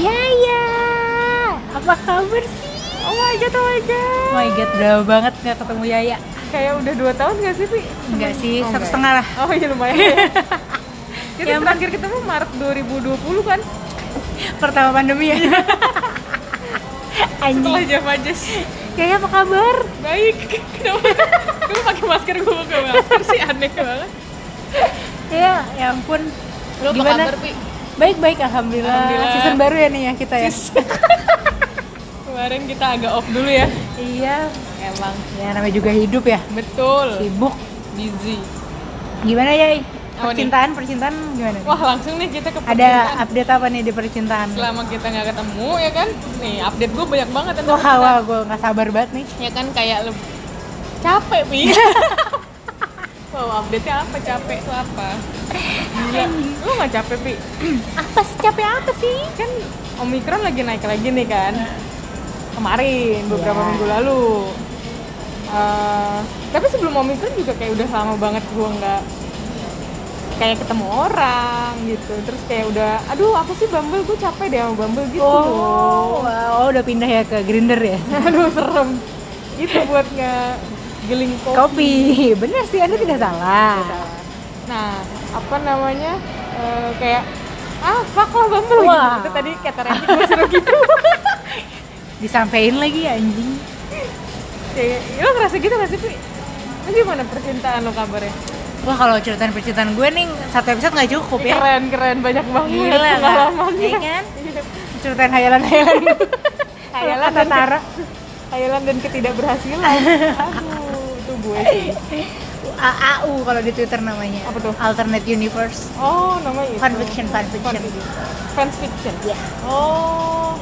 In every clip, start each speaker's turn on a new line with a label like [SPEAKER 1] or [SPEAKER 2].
[SPEAKER 1] Ya, apa kabar sih?
[SPEAKER 2] Oh my god, oh my god.
[SPEAKER 1] Oh my god, udah banget nggak ketemu Yaya.
[SPEAKER 2] Kayak udah 2 tahun gak sih, Pi?
[SPEAKER 1] Enggak sih,
[SPEAKER 2] Oh,
[SPEAKER 1] satu
[SPEAKER 2] enggak.
[SPEAKER 1] setengah lah.
[SPEAKER 2] Oh iya lumayan. ya. Kita
[SPEAKER 1] Ya, Mbak.
[SPEAKER 2] terakhir ketemu Maret 2020 kan?
[SPEAKER 1] Pertama pandemi ya.
[SPEAKER 2] Setelah
[SPEAKER 1] Anjing.
[SPEAKER 2] Java Jazz.
[SPEAKER 1] Yaya apa kabar?
[SPEAKER 2] Baik. Kenapa? Kamu pakai masker gue pakai masker sih aneh banget.
[SPEAKER 1] Ya, ya ampun.
[SPEAKER 2] Lu apa
[SPEAKER 1] Gimana?
[SPEAKER 2] kabar, Pi?
[SPEAKER 1] Baik-baik, alhamdulillah.
[SPEAKER 2] Alhamdulillah.
[SPEAKER 1] Season baru ya nih ya kita ya.
[SPEAKER 2] Kemarin kita agak off dulu ya.
[SPEAKER 1] iya.
[SPEAKER 2] Emang
[SPEAKER 1] Ya namanya juga hidup ya.
[SPEAKER 2] betul.
[SPEAKER 1] Sibuk.
[SPEAKER 2] Busy.
[SPEAKER 1] Gimana Yai?
[SPEAKER 2] Apa nih? Oh,
[SPEAKER 1] Percintaan, percintaan gimana? nih?
[SPEAKER 2] Wah, langsung nih kita ke
[SPEAKER 1] Ada update apa nih di percintaan?
[SPEAKER 2] selama kita nggak ketemu ya kan nih update gue banyak banget tentang
[SPEAKER 1] Wah, wah, gue nggak sabar banget nih.
[SPEAKER 2] ya kan kayak lu capek pi wow update nya apa capek tuh apa Gila. lu nggak capek pi
[SPEAKER 1] Apa sih capek apa sih?
[SPEAKER 2] kan omikron lagi naik lagi nih kan kemarin beberapa
[SPEAKER 1] Iya.
[SPEAKER 2] minggu lalu Eh, tapi sebelum omikron juga kayak udah lama banget gua nggak kayak ketemu orang gitu terus kayak udah aduh aku sih bumble gue capek deh sama bumble gitu
[SPEAKER 1] Oh, wow, udah pindah ya ke grinder ya.
[SPEAKER 2] aduh serem itu buat ngegeling kopi.
[SPEAKER 1] Kopi, bener sih, anda tidak salah.
[SPEAKER 2] nah apa namanya eh, kayak ah fuck lah bumble
[SPEAKER 1] Wah.
[SPEAKER 2] gitu. itu tadi kata Randy gue suruh gitu
[SPEAKER 1] Disampaikan lagi anjing.
[SPEAKER 2] kayak lo ngerasa gitu nggak sih Pi? Lo gimana percintaan lo kabarnya?
[SPEAKER 1] Wah kalau ceritaan percintaan gue nih satu episode nggak cukup ya.
[SPEAKER 2] Keren keren banyak banget
[SPEAKER 1] Gila nggak?
[SPEAKER 2] pengalamannya.
[SPEAKER 1] Iya kan? Ceritain hayalan-hayalan.
[SPEAKER 2] Hayalan
[SPEAKER 1] Kata
[SPEAKER 2] dan
[SPEAKER 1] Tara.
[SPEAKER 2] Hayalan dan ketidakberhasilan. Aduh, itu gue sih.
[SPEAKER 1] AAU kalau di Twitter namanya.
[SPEAKER 2] Apa tuh?
[SPEAKER 1] Alternate Universe.
[SPEAKER 2] Oh, namanya itu.
[SPEAKER 1] Fan fiction, fan fiction.
[SPEAKER 2] Fans fiction.
[SPEAKER 1] Iya.
[SPEAKER 2] Oh.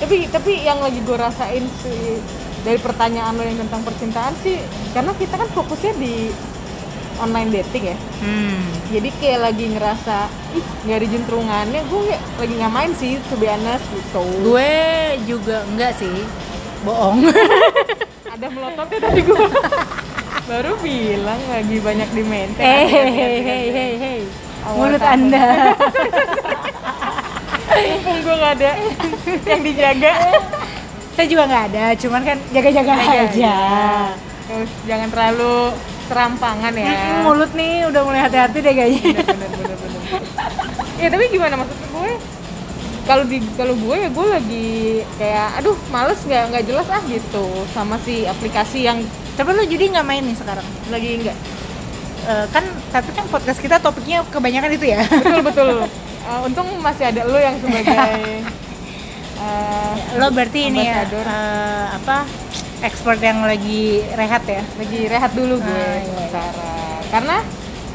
[SPEAKER 2] Tapi tapi yang lagi gue rasain sih dari pertanyaan lo yang tentang percintaan sih karena kita kan fokusnya di online dating ya.
[SPEAKER 1] Hmm.
[SPEAKER 2] Jadi kayak lagi ngerasa ih nggak ada jentrungannya gue nggak- lagi nggak main sih to be honest gitu.
[SPEAKER 1] Gue juga enggak sih. Bohong.
[SPEAKER 2] Ada melototnya tadi gue. Baru bilang lagi banyak di maintain.
[SPEAKER 1] Eh, Hehehe, hehehe, hehehe.
[SPEAKER 2] Awal
[SPEAKER 1] Mulut
[SPEAKER 2] tahun.
[SPEAKER 1] Anda.
[SPEAKER 2] Mumpung gue nggak ada yang dijaga.
[SPEAKER 1] Saya juga nggak ada, cuman kan jaga-jaga iya. aja.
[SPEAKER 2] Iya, Terus jangan terlalu serampangan ya.
[SPEAKER 1] Mm-mm, Mulut nih udah mulai hati-hati deh kayaknya.
[SPEAKER 2] bener bener bener ya tapi gimana maksud gue kalau di kalau gue ya gue lagi kayak aduh males nggak nggak jelas ah gitu sama si aplikasi yang
[SPEAKER 1] Tapi lu jadi nggak main nih sekarang?
[SPEAKER 2] lagi nggak
[SPEAKER 1] Eh, kan tapi kan podcast kita topiknya kebanyakan itu ya.
[SPEAKER 2] betul betul Eh, untung masih ada lo yang sebagai eh,
[SPEAKER 1] Lo berarti ini ya
[SPEAKER 2] Ambassador.
[SPEAKER 1] eh, apa expert yang lagi rehat ya.
[SPEAKER 2] lagi rehat dulu gue
[SPEAKER 1] Ah, iya, iya.
[SPEAKER 2] sementara karena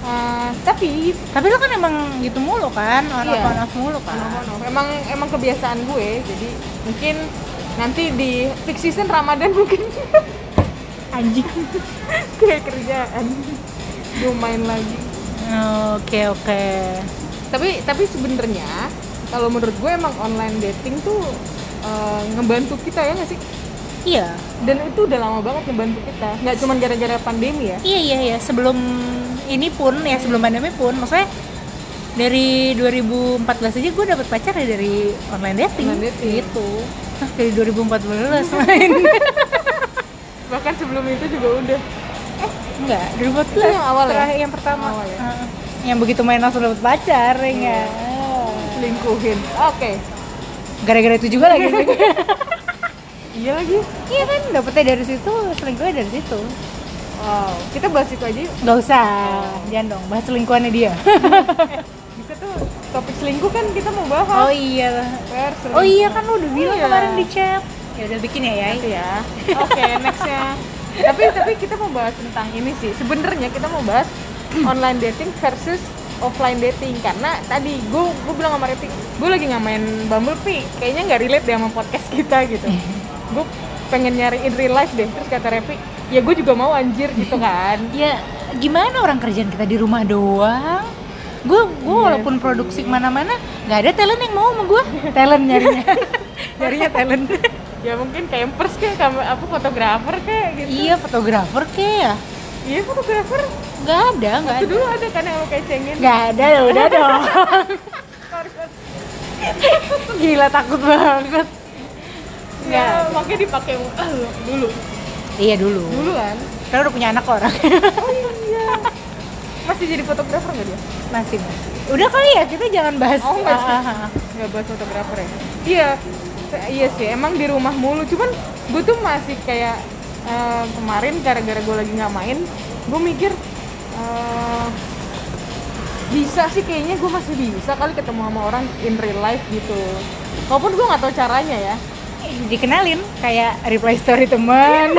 [SPEAKER 2] eh, tapi
[SPEAKER 1] Tapi lo kan emang gitu mulu kan, on off
[SPEAKER 2] Iya.
[SPEAKER 1] on off mulu kan.
[SPEAKER 2] Mono-mono. Emang emang kebiasaan gue, jadi mungkin nanti di peak season Ramadan mungkin
[SPEAKER 1] Anjing.
[SPEAKER 2] kayak kerjaan gue main lagi.
[SPEAKER 1] Oke oke.
[SPEAKER 2] Tapi tapi sebenarnya kalau menurut gue emang online dating tuh eh, ngebantu kita ya nggak sih?
[SPEAKER 1] Iya.
[SPEAKER 2] Dan itu udah lama banget ngebantu kita. Nggak cuma gara-gara pandemi ya.
[SPEAKER 1] Iya iya iya sebelum ini pun ya sebelum pandemi pun maksudnya dari 2014 aja gue dapet pacar ya dari online dating,
[SPEAKER 2] Online dating. Iya.
[SPEAKER 1] gitu Hah, dari 2014 main
[SPEAKER 2] Bahkan sebelum itu juga udah.
[SPEAKER 1] enggak 2014
[SPEAKER 2] Itu yang awal ya?
[SPEAKER 1] terakhir yang pertama
[SPEAKER 2] Awal ya?
[SPEAKER 1] Heeh. yang begitu main langsung dapet pacar
[SPEAKER 2] Iya.
[SPEAKER 1] ya enggak
[SPEAKER 2] Lingkuhin. Oke.
[SPEAKER 1] gara-gara itu juga lagi
[SPEAKER 2] Iya lagi.
[SPEAKER 1] iya kan dapetnya dari situ selingkuhnya dari situ
[SPEAKER 2] Wow. Kita bahas itu aja yuk.
[SPEAKER 1] nggak usah jangan dong bahas selingkuhannya dia
[SPEAKER 2] Bisa tuh topik selingkuh kan kita mau bahas.
[SPEAKER 1] oh iya
[SPEAKER 2] Pers,
[SPEAKER 1] oh iya kan lu udah bilang
[SPEAKER 2] Iya.
[SPEAKER 1] kemarin di chat ya udah bikin ya Yai
[SPEAKER 2] Nanti ya. Oke, nextnya. tapi tapi kita mau bahas tentang ini sih. Sebenarnya kita mau bahas online dating versus offline dating karena tadi gue gue bilang sama Reti, gue lagi nggak main Bumble Pi, kayaknya nggak relate deh sama podcast kita gitu. gue pengen nyari in real life deh. Terus kata Repi, ya gue juga mau anjir gitu kan.
[SPEAKER 1] ya gimana orang kerjaan kita di rumah doang gue gue walaupun produksi kemana-mana nggak ada talent yang mau sama gue talent nyarinya nyarinya talent
[SPEAKER 2] ya mungkin campers kayak apa fotografer kayak gitu.
[SPEAKER 1] iya fotografer kek ya
[SPEAKER 2] Iya fotografer.
[SPEAKER 1] nggak ada nggak
[SPEAKER 2] Itu
[SPEAKER 1] ada
[SPEAKER 2] dulu ada kan yang lo kecengin.
[SPEAKER 1] nggak ada ya udah dong gila takut banget
[SPEAKER 2] ya makanya dipakai ah, dulu
[SPEAKER 1] Iya dulu.
[SPEAKER 2] dulu kan
[SPEAKER 1] Karena udah punya anak kok orang.
[SPEAKER 2] Oh, iya. masih jadi fotografer nggak dia
[SPEAKER 1] masih masih. Udah kali ya kita jangan bahas.
[SPEAKER 2] Oh, masih.
[SPEAKER 1] Ah, ah, ah.
[SPEAKER 2] nggak buat fotografer ya iya Te- iya sih emang di rumah mulu cuman gue tuh masih kayak eh, kemarin gara-gara gue lagi nggak main gue mikir eh, bisa sih kayaknya gue masih bisa kali ketemu sama orang in real life gitu walaupun gue nggak tahu caranya ya
[SPEAKER 1] Eh, dikenalin kayak reply story teman.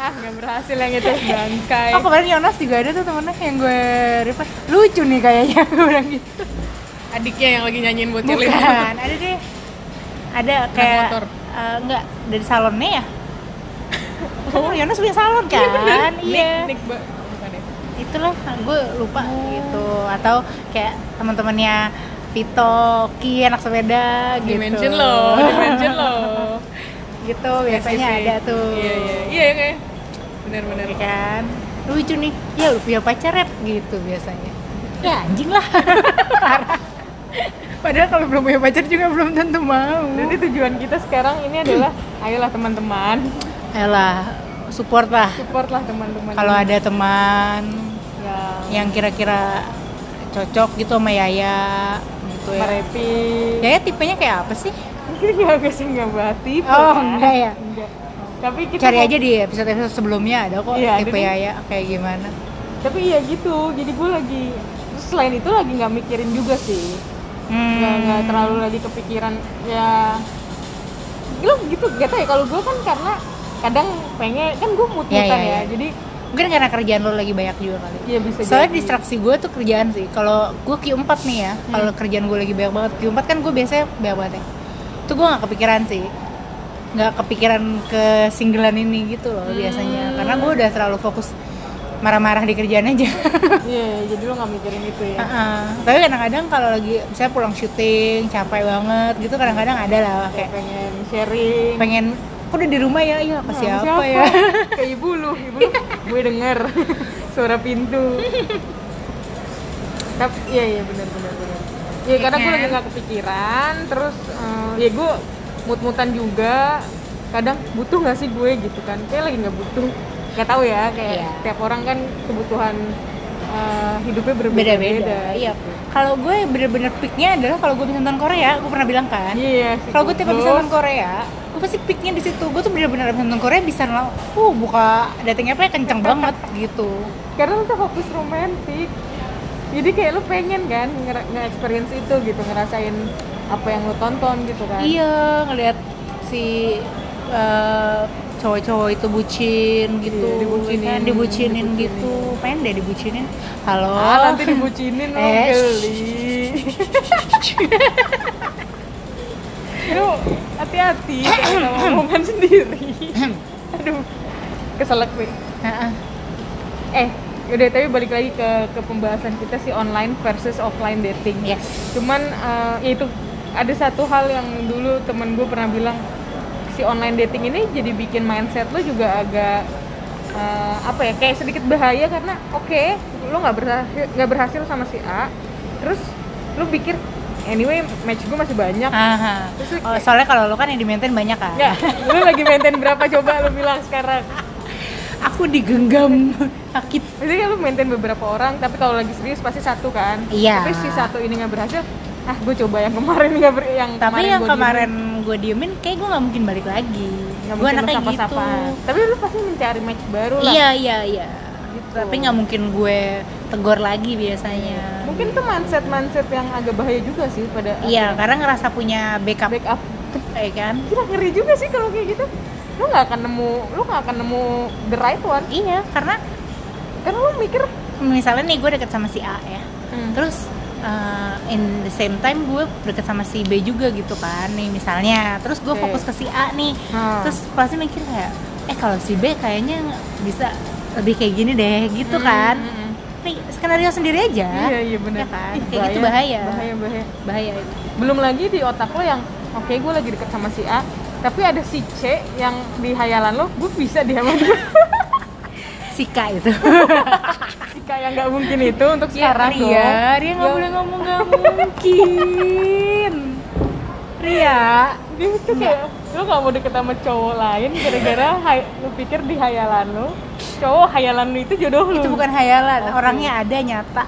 [SPEAKER 2] ah nggak berhasil yang itu bangkai
[SPEAKER 1] Oh kemarin Yonas juga ada tuh temennya yang gue reply lucu nih kayaknya gue bilang gitu.
[SPEAKER 2] adiknya yang lagi nyanyiin buat Cilik.
[SPEAKER 1] Bukan, ada deh. Ada kayak
[SPEAKER 2] motor.
[SPEAKER 1] eh, enggak dari salonnya ya. Oh, Yonas punya salon kan?
[SPEAKER 2] Iya bener.
[SPEAKER 1] Iya.
[SPEAKER 2] Nick, Nick Ba- bukan ya.
[SPEAKER 1] Itulah gue lupa gitu atau kayak teman-temannya Vito, Ki anak sepeda gitu.
[SPEAKER 2] dimension lo, dimension lo.
[SPEAKER 1] Gitu biasanya ada tuh.
[SPEAKER 2] Iya iya iya ya kayak. Benar-benar.
[SPEAKER 1] Ya kan? Lucu nih. Ya lu punya pacar Rep, gitu biasanya. Ya anjing lah. Parah. Padahal kalau belum punya pacar juga belum tentu mau.
[SPEAKER 2] Jadi tujuan kita sekarang ini adalah ayolah teman-teman,
[SPEAKER 1] Ayolah, support lah.
[SPEAKER 2] supportlah teman-teman. Ya,
[SPEAKER 1] Kalau ada Ya. teman
[SPEAKER 2] yang
[SPEAKER 1] yang kira-kira cocok gitu sama Yaya gitu ya.
[SPEAKER 2] merepi.
[SPEAKER 1] Yaya tipenya kayak apa sih?
[SPEAKER 2] Enggak gue Ya, sih enggak bahas tipe.
[SPEAKER 1] Oh,
[SPEAKER 2] kan.
[SPEAKER 1] enggak ya?
[SPEAKER 2] Enggak. Tapi kita
[SPEAKER 1] Cari
[SPEAKER 2] mau-
[SPEAKER 1] aja di episode-episode sebelumnya ada kok
[SPEAKER 2] Iya,
[SPEAKER 1] tipe
[SPEAKER 2] jadi-
[SPEAKER 1] Yaya kayak gimana.
[SPEAKER 2] Tapi iya gitu. Jadi gue lagi terus selain itu lagi nggak mikirin juga sih.
[SPEAKER 1] Hmm.
[SPEAKER 2] nggak nggak terlalu lagi kepikiran ya lu gitu gak tau ya kalau gue kan karena kadang pengen kan gue mut mutan
[SPEAKER 1] Ya, ya, ya.
[SPEAKER 2] ya jadi
[SPEAKER 1] Mungkin karena kerjaan lo lagi banyak juga kali.
[SPEAKER 2] ya bisa jadi.
[SPEAKER 1] Soalnya
[SPEAKER 2] Hmm.
[SPEAKER 1] distraksi gue tuh kerjaan sih. Kalau gue Q4 nih ya, kalau kerjaan gue lagi banyak banget Q4 kan gue biasanya banyak banget ya. Itu gue nggak kepikiran sih, nggak kepikiran ke singgelan ini gitu
[SPEAKER 2] Hmm.
[SPEAKER 1] loh biasanya. Karena gue udah terlalu fokus marah-marah di kerjaan aja.
[SPEAKER 2] iya iya, jadi lu nggak mikirin itu ya
[SPEAKER 1] Heeh. Tapi kadang-kadang kalau lagi misalnya pulang syuting capek banget gitu kadang-kadang ada lah
[SPEAKER 2] kayak
[SPEAKER 1] kayak
[SPEAKER 2] pengen sharing
[SPEAKER 1] pengen aku udah di rumah ya, iya ke
[SPEAKER 2] Nah,
[SPEAKER 1] siapa, ya?
[SPEAKER 2] ke ibu lu ibu lu gue denger suara pintu tapi iya iya benar benar benar ya
[SPEAKER 1] Ya
[SPEAKER 2] karena gue
[SPEAKER 1] kan? Hmm.
[SPEAKER 2] lagi nggak kepikiran terus eh, ya gue mut mutan juga kadang butuh nggak sih gue gitu kan kayak lagi nggak butuh nggak tahu ya kayak
[SPEAKER 1] Iya.
[SPEAKER 2] tiap orang kan kebutuhan eh, hidupnya berbeda beda
[SPEAKER 1] Beda-beda. Iya. Kalau gue bener-bener peaknya adalah kalau gue bisa nonton Korea, gue pernah bilang kan.
[SPEAKER 2] iya si
[SPEAKER 1] Kalau gue tiap
[SPEAKER 2] goblok.
[SPEAKER 1] habis nonton Korea, gue pasti peaknya di situ. Gue tuh bener-bener habis nonton Korea bisa nol. Uh, buka dating app kenceng banget gitu.
[SPEAKER 2] karena lu tuh fokus romantis jadi kayak lu pengen kan nge- nge-experience itu gitu ngerasain apa yang lu tonton gitu kan
[SPEAKER 1] Iya, ngelihat si eh, cowok-cowok itu bucin gitu,
[SPEAKER 2] Iya, dibucinin,
[SPEAKER 1] kan, dibucinin
[SPEAKER 2] dibucinin.
[SPEAKER 1] gitu. Pengen deh dibucinin. Halo.
[SPEAKER 2] ah nanti dibucinin lu
[SPEAKER 1] Oh. Eh,
[SPEAKER 2] geli lu hati-hati sama omongan sendiri aduh keselak gue
[SPEAKER 1] Heeh.
[SPEAKER 2] eh udah tapi balik lagi ke ke pembahasan kita sih online versus offline dating
[SPEAKER 1] Yes.
[SPEAKER 2] cuman eh, ya itu ada satu hal yang dulu temen gue pernah bilang si online dating ini jadi bikin mindset lo juga agak eh, apa ya kayak sedikit bahaya karena oke lo nggak berhasil nggak berhasil sama si A terus lo pikir anyway match gue masih banyak
[SPEAKER 1] Aha.
[SPEAKER 2] Terus lu-
[SPEAKER 1] Oh, soalnya kalau lo kan yang di maintain banyak kan.
[SPEAKER 2] nggak lo lagi maintain berapa coba lo bilang sekarang
[SPEAKER 1] Aku digenggam sakit.
[SPEAKER 2] Maksudnya kan lu maintain beberapa orang, tapi kalau lagi serius pasti satu kan?
[SPEAKER 1] Iya.
[SPEAKER 2] Tapi si satu ini nggak berhasil, ah gue coba yang kemarin nggak ber yang
[SPEAKER 1] Tapi yang
[SPEAKER 2] gua diemin.
[SPEAKER 1] kemarin gue diemin, kayak gue nggak mungkin balik lagi.
[SPEAKER 2] nggak
[SPEAKER 1] Gue
[SPEAKER 2] mungkin
[SPEAKER 1] anaknya
[SPEAKER 2] sapa
[SPEAKER 1] gitu.
[SPEAKER 2] Tapi lu pasti mencari match baru lah.
[SPEAKER 1] Iya iya iya.
[SPEAKER 2] Gitu.
[SPEAKER 1] Tapi nggak mungkin gue tegor lagi biasanya.
[SPEAKER 2] Mungkin tuh mindset mindset yang agak bahaya juga sih pada
[SPEAKER 1] Iya, karena ngerasa punya backup,
[SPEAKER 2] backup.
[SPEAKER 1] ya kan?
[SPEAKER 2] Gila ngeri juga sih kalau kayak gitu. Lu nggak akan nemu, lu nggak akan nemu the right one.
[SPEAKER 1] Iya, karena
[SPEAKER 2] Karena lu mikir
[SPEAKER 1] misalnya nih gue deket sama si A ya, terus uh, in the same time gue deket sama si B juga gitu kan, nih misalnya, terus gue
[SPEAKER 2] Oke.
[SPEAKER 1] fokus ke si A nih,
[SPEAKER 2] Hmm.
[SPEAKER 1] terus pasti mikir kayak, eh kalau si B kayaknya bisa lebih kayak gini deh gitu kan,
[SPEAKER 2] Hmm, hmm,
[SPEAKER 1] nih skenario sendiri aja,
[SPEAKER 2] hmm. Iya iya benar.
[SPEAKER 1] Ya kan? Kayak gitu bahaya.
[SPEAKER 2] Bahaya bahaya.
[SPEAKER 1] bahaya itu.
[SPEAKER 2] belum lagi di otak lo yang oke gue lagi deket sama si A tapi ada si C yang di hayalan lo gue bisa dia sama dia
[SPEAKER 1] si K itu.
[SPEAKER 2] jika yang nggak mungkin itu untuk
[SPEAKER 1] Ya,
[SPEAKER 2] sekarang dong.
[SPEAKER 1] Ria, Ria nggak boleh ngomong nggak mungkin. Ria,
[SPEAKER 2] dia itu kayak lu gak mau deket sama cowok lain gara-gara hay- lu pikir di hayalan lu cowok hayalan lu itu jodoh lu
[SPEAKER 1] itu bukan hayalan orangnya ada nyata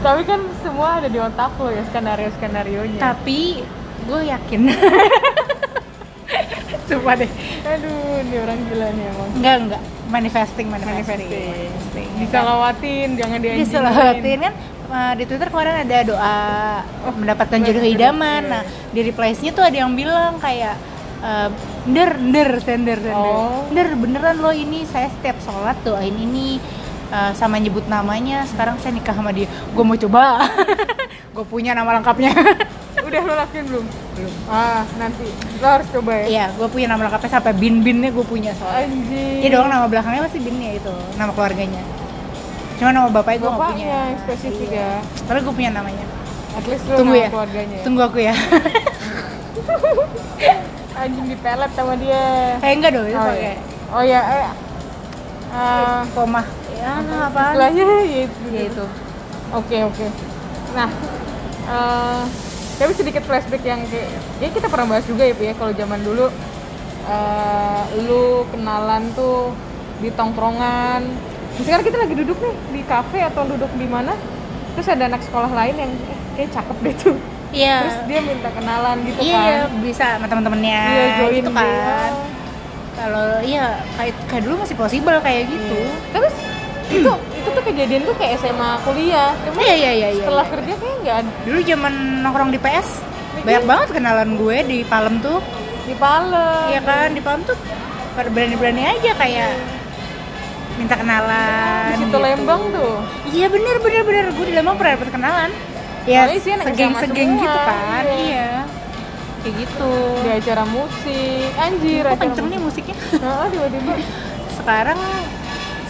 [SPEAKER 2] tapi kan semua ada di otak lu ya skenario skenarionya
[SPEAKER 1] tapi gue yakin sumpah deh
[SPEAKER 2] aduh ini orang gila nih emang
[SPEAKER 1] enggak enggak manifesting manifesting,
[SPEAKER 2] manifesting
[SPEAKER 1] ya kan?
[SPEAKER 2] diselawatin jangan dianjingin
[SPEAKER 1] diselawatin kan eh, di Twitter kemarin ada doa mendapatkan jodoh
[SPEAKER 2] jodoh iya. idaman.
[SPEAKER 1] idaman. Nah, di replies-nya tuh ada yang bilang kayak eh, nder nder sender sender.
[SPEAKER 2] Oh.
[SPEAKER 1] Nder beneran lo ini saya setiap sholat doain ini eh, sama nyebut namanya. Sekarang saya nikah sama dia. Gue mau coba. Gue punya nama lengkapnya.
[SPEAKER 2] udah lu lakuin belum belum ah nanti lo harus coba ya
[SPEAKER 1] Iya, gue punya nama lengkapnya sampai bin-binnya gue punya soalnya.
[SPEAKER 2] anjing
[SPEAKER 1] Iya dong, nama belakangnya masih bin ya itu, nama keluarganya. Cuma nama bapaknya gue nggak punya. Iya.
[SPEAKER 2] bapaknya yang spesifik ya
[SPEAKER 1] Tapi gue punya namanya.
[SPEAKER 2] at least lu
[SPEAKER 1] Tunggu
[SPEAKER 2] nama
[SPEAKER 1] ya.
[SPEAKER 2] keluarganya ya.
[SPEAKER 1] Tunggu aku ya.
[SPEAKER 2] anjing dipelet sama dia
[SPEAKER 1] Eh enggak dong, itu
[SPEAKER 2] oh
[SPEAKER 1] pakai
[SPEAKER 2] ya oh ya eh ah,
[SPEAKER 1] koma. Ya, apaan?
[SPEAKER 2] lah ya ya itu
[SPEAKER 1] Ya itu.
[SPEAKER 2] oke oke nah eh tapi sedikit flashback yang kayak ya kita pernah bahas juga ya Pi, ya kalau zaman dulu eh lu kenalan tuh di tongkrongan misalkan kita lagi duduk nih di kafe atau duduk di mana terus ada anak sekolah lain yang eh, kayak cakep deh tuh
[SPEAKER 1] Iya.
[SPEAKER 2] terus dia minta kenalan gitu
[SPEAKER 1] Iya, iya,
[SPEAKER 2] kan Iya,
[SPEAKER 1] bisa sama teman-temannya
[SPEAKER 2] join
[SPEAKER 1] gitu
[SPEAKER 2] dia.
[SPEAKER 1] kan. Kalau iya kayak, kayak dulu masih possible kayak gitu.
[SPEAKER 2] terus itu itu tuh kejadian tuh kayak SMA kuliah cuma
[SPEAKER 1] Iya, iya, iya, iya.
[SPEAKER 2] setelah
[SPEAKER 1] iya.
[SPEAKER 2] kerja kayak nggak ada
[SPEAKER 1] Dulu zaman nongkrong di PS banyak banget kenalan gue di Palem tuh.
[SPEAKER 2] di Palem
[SPEAKER 1] Iya kan di Palem tuh pada berani-berani aja kayak minta kenalan.
[SPEAKER 2] di situ
[SPEAKER 1] gitu.
[SPEAKER 2] Lembang tuh
[SPEAKER 1] Iya bener bener bener gue di Lembang pernah dapet kenalan. Ya
[SPEAKER 2] Soalnya isinya anak
[SPEAKER 1] segeng
[SPEAKER 2] SMA
[SPEAKER 1] segeng
[SPEAKER 2] semua,
[SPEAKER 1] gitu kan.
[SPEAKER 2] iya.
[SPEAKER 1] Iya. Kayak gitu.
[SPEAKER 2] di acara musik anjir
[SPEAKER 1] Kok
[SPEAKER 2] acara
[SPEAKER 1] kenceng nih
[SPEAKER 2] musik
[SPEAKER 1] musiknya?
[SPEAKER 2] Heeh, tiba-tiba
[SPEAKER 1] Sekarang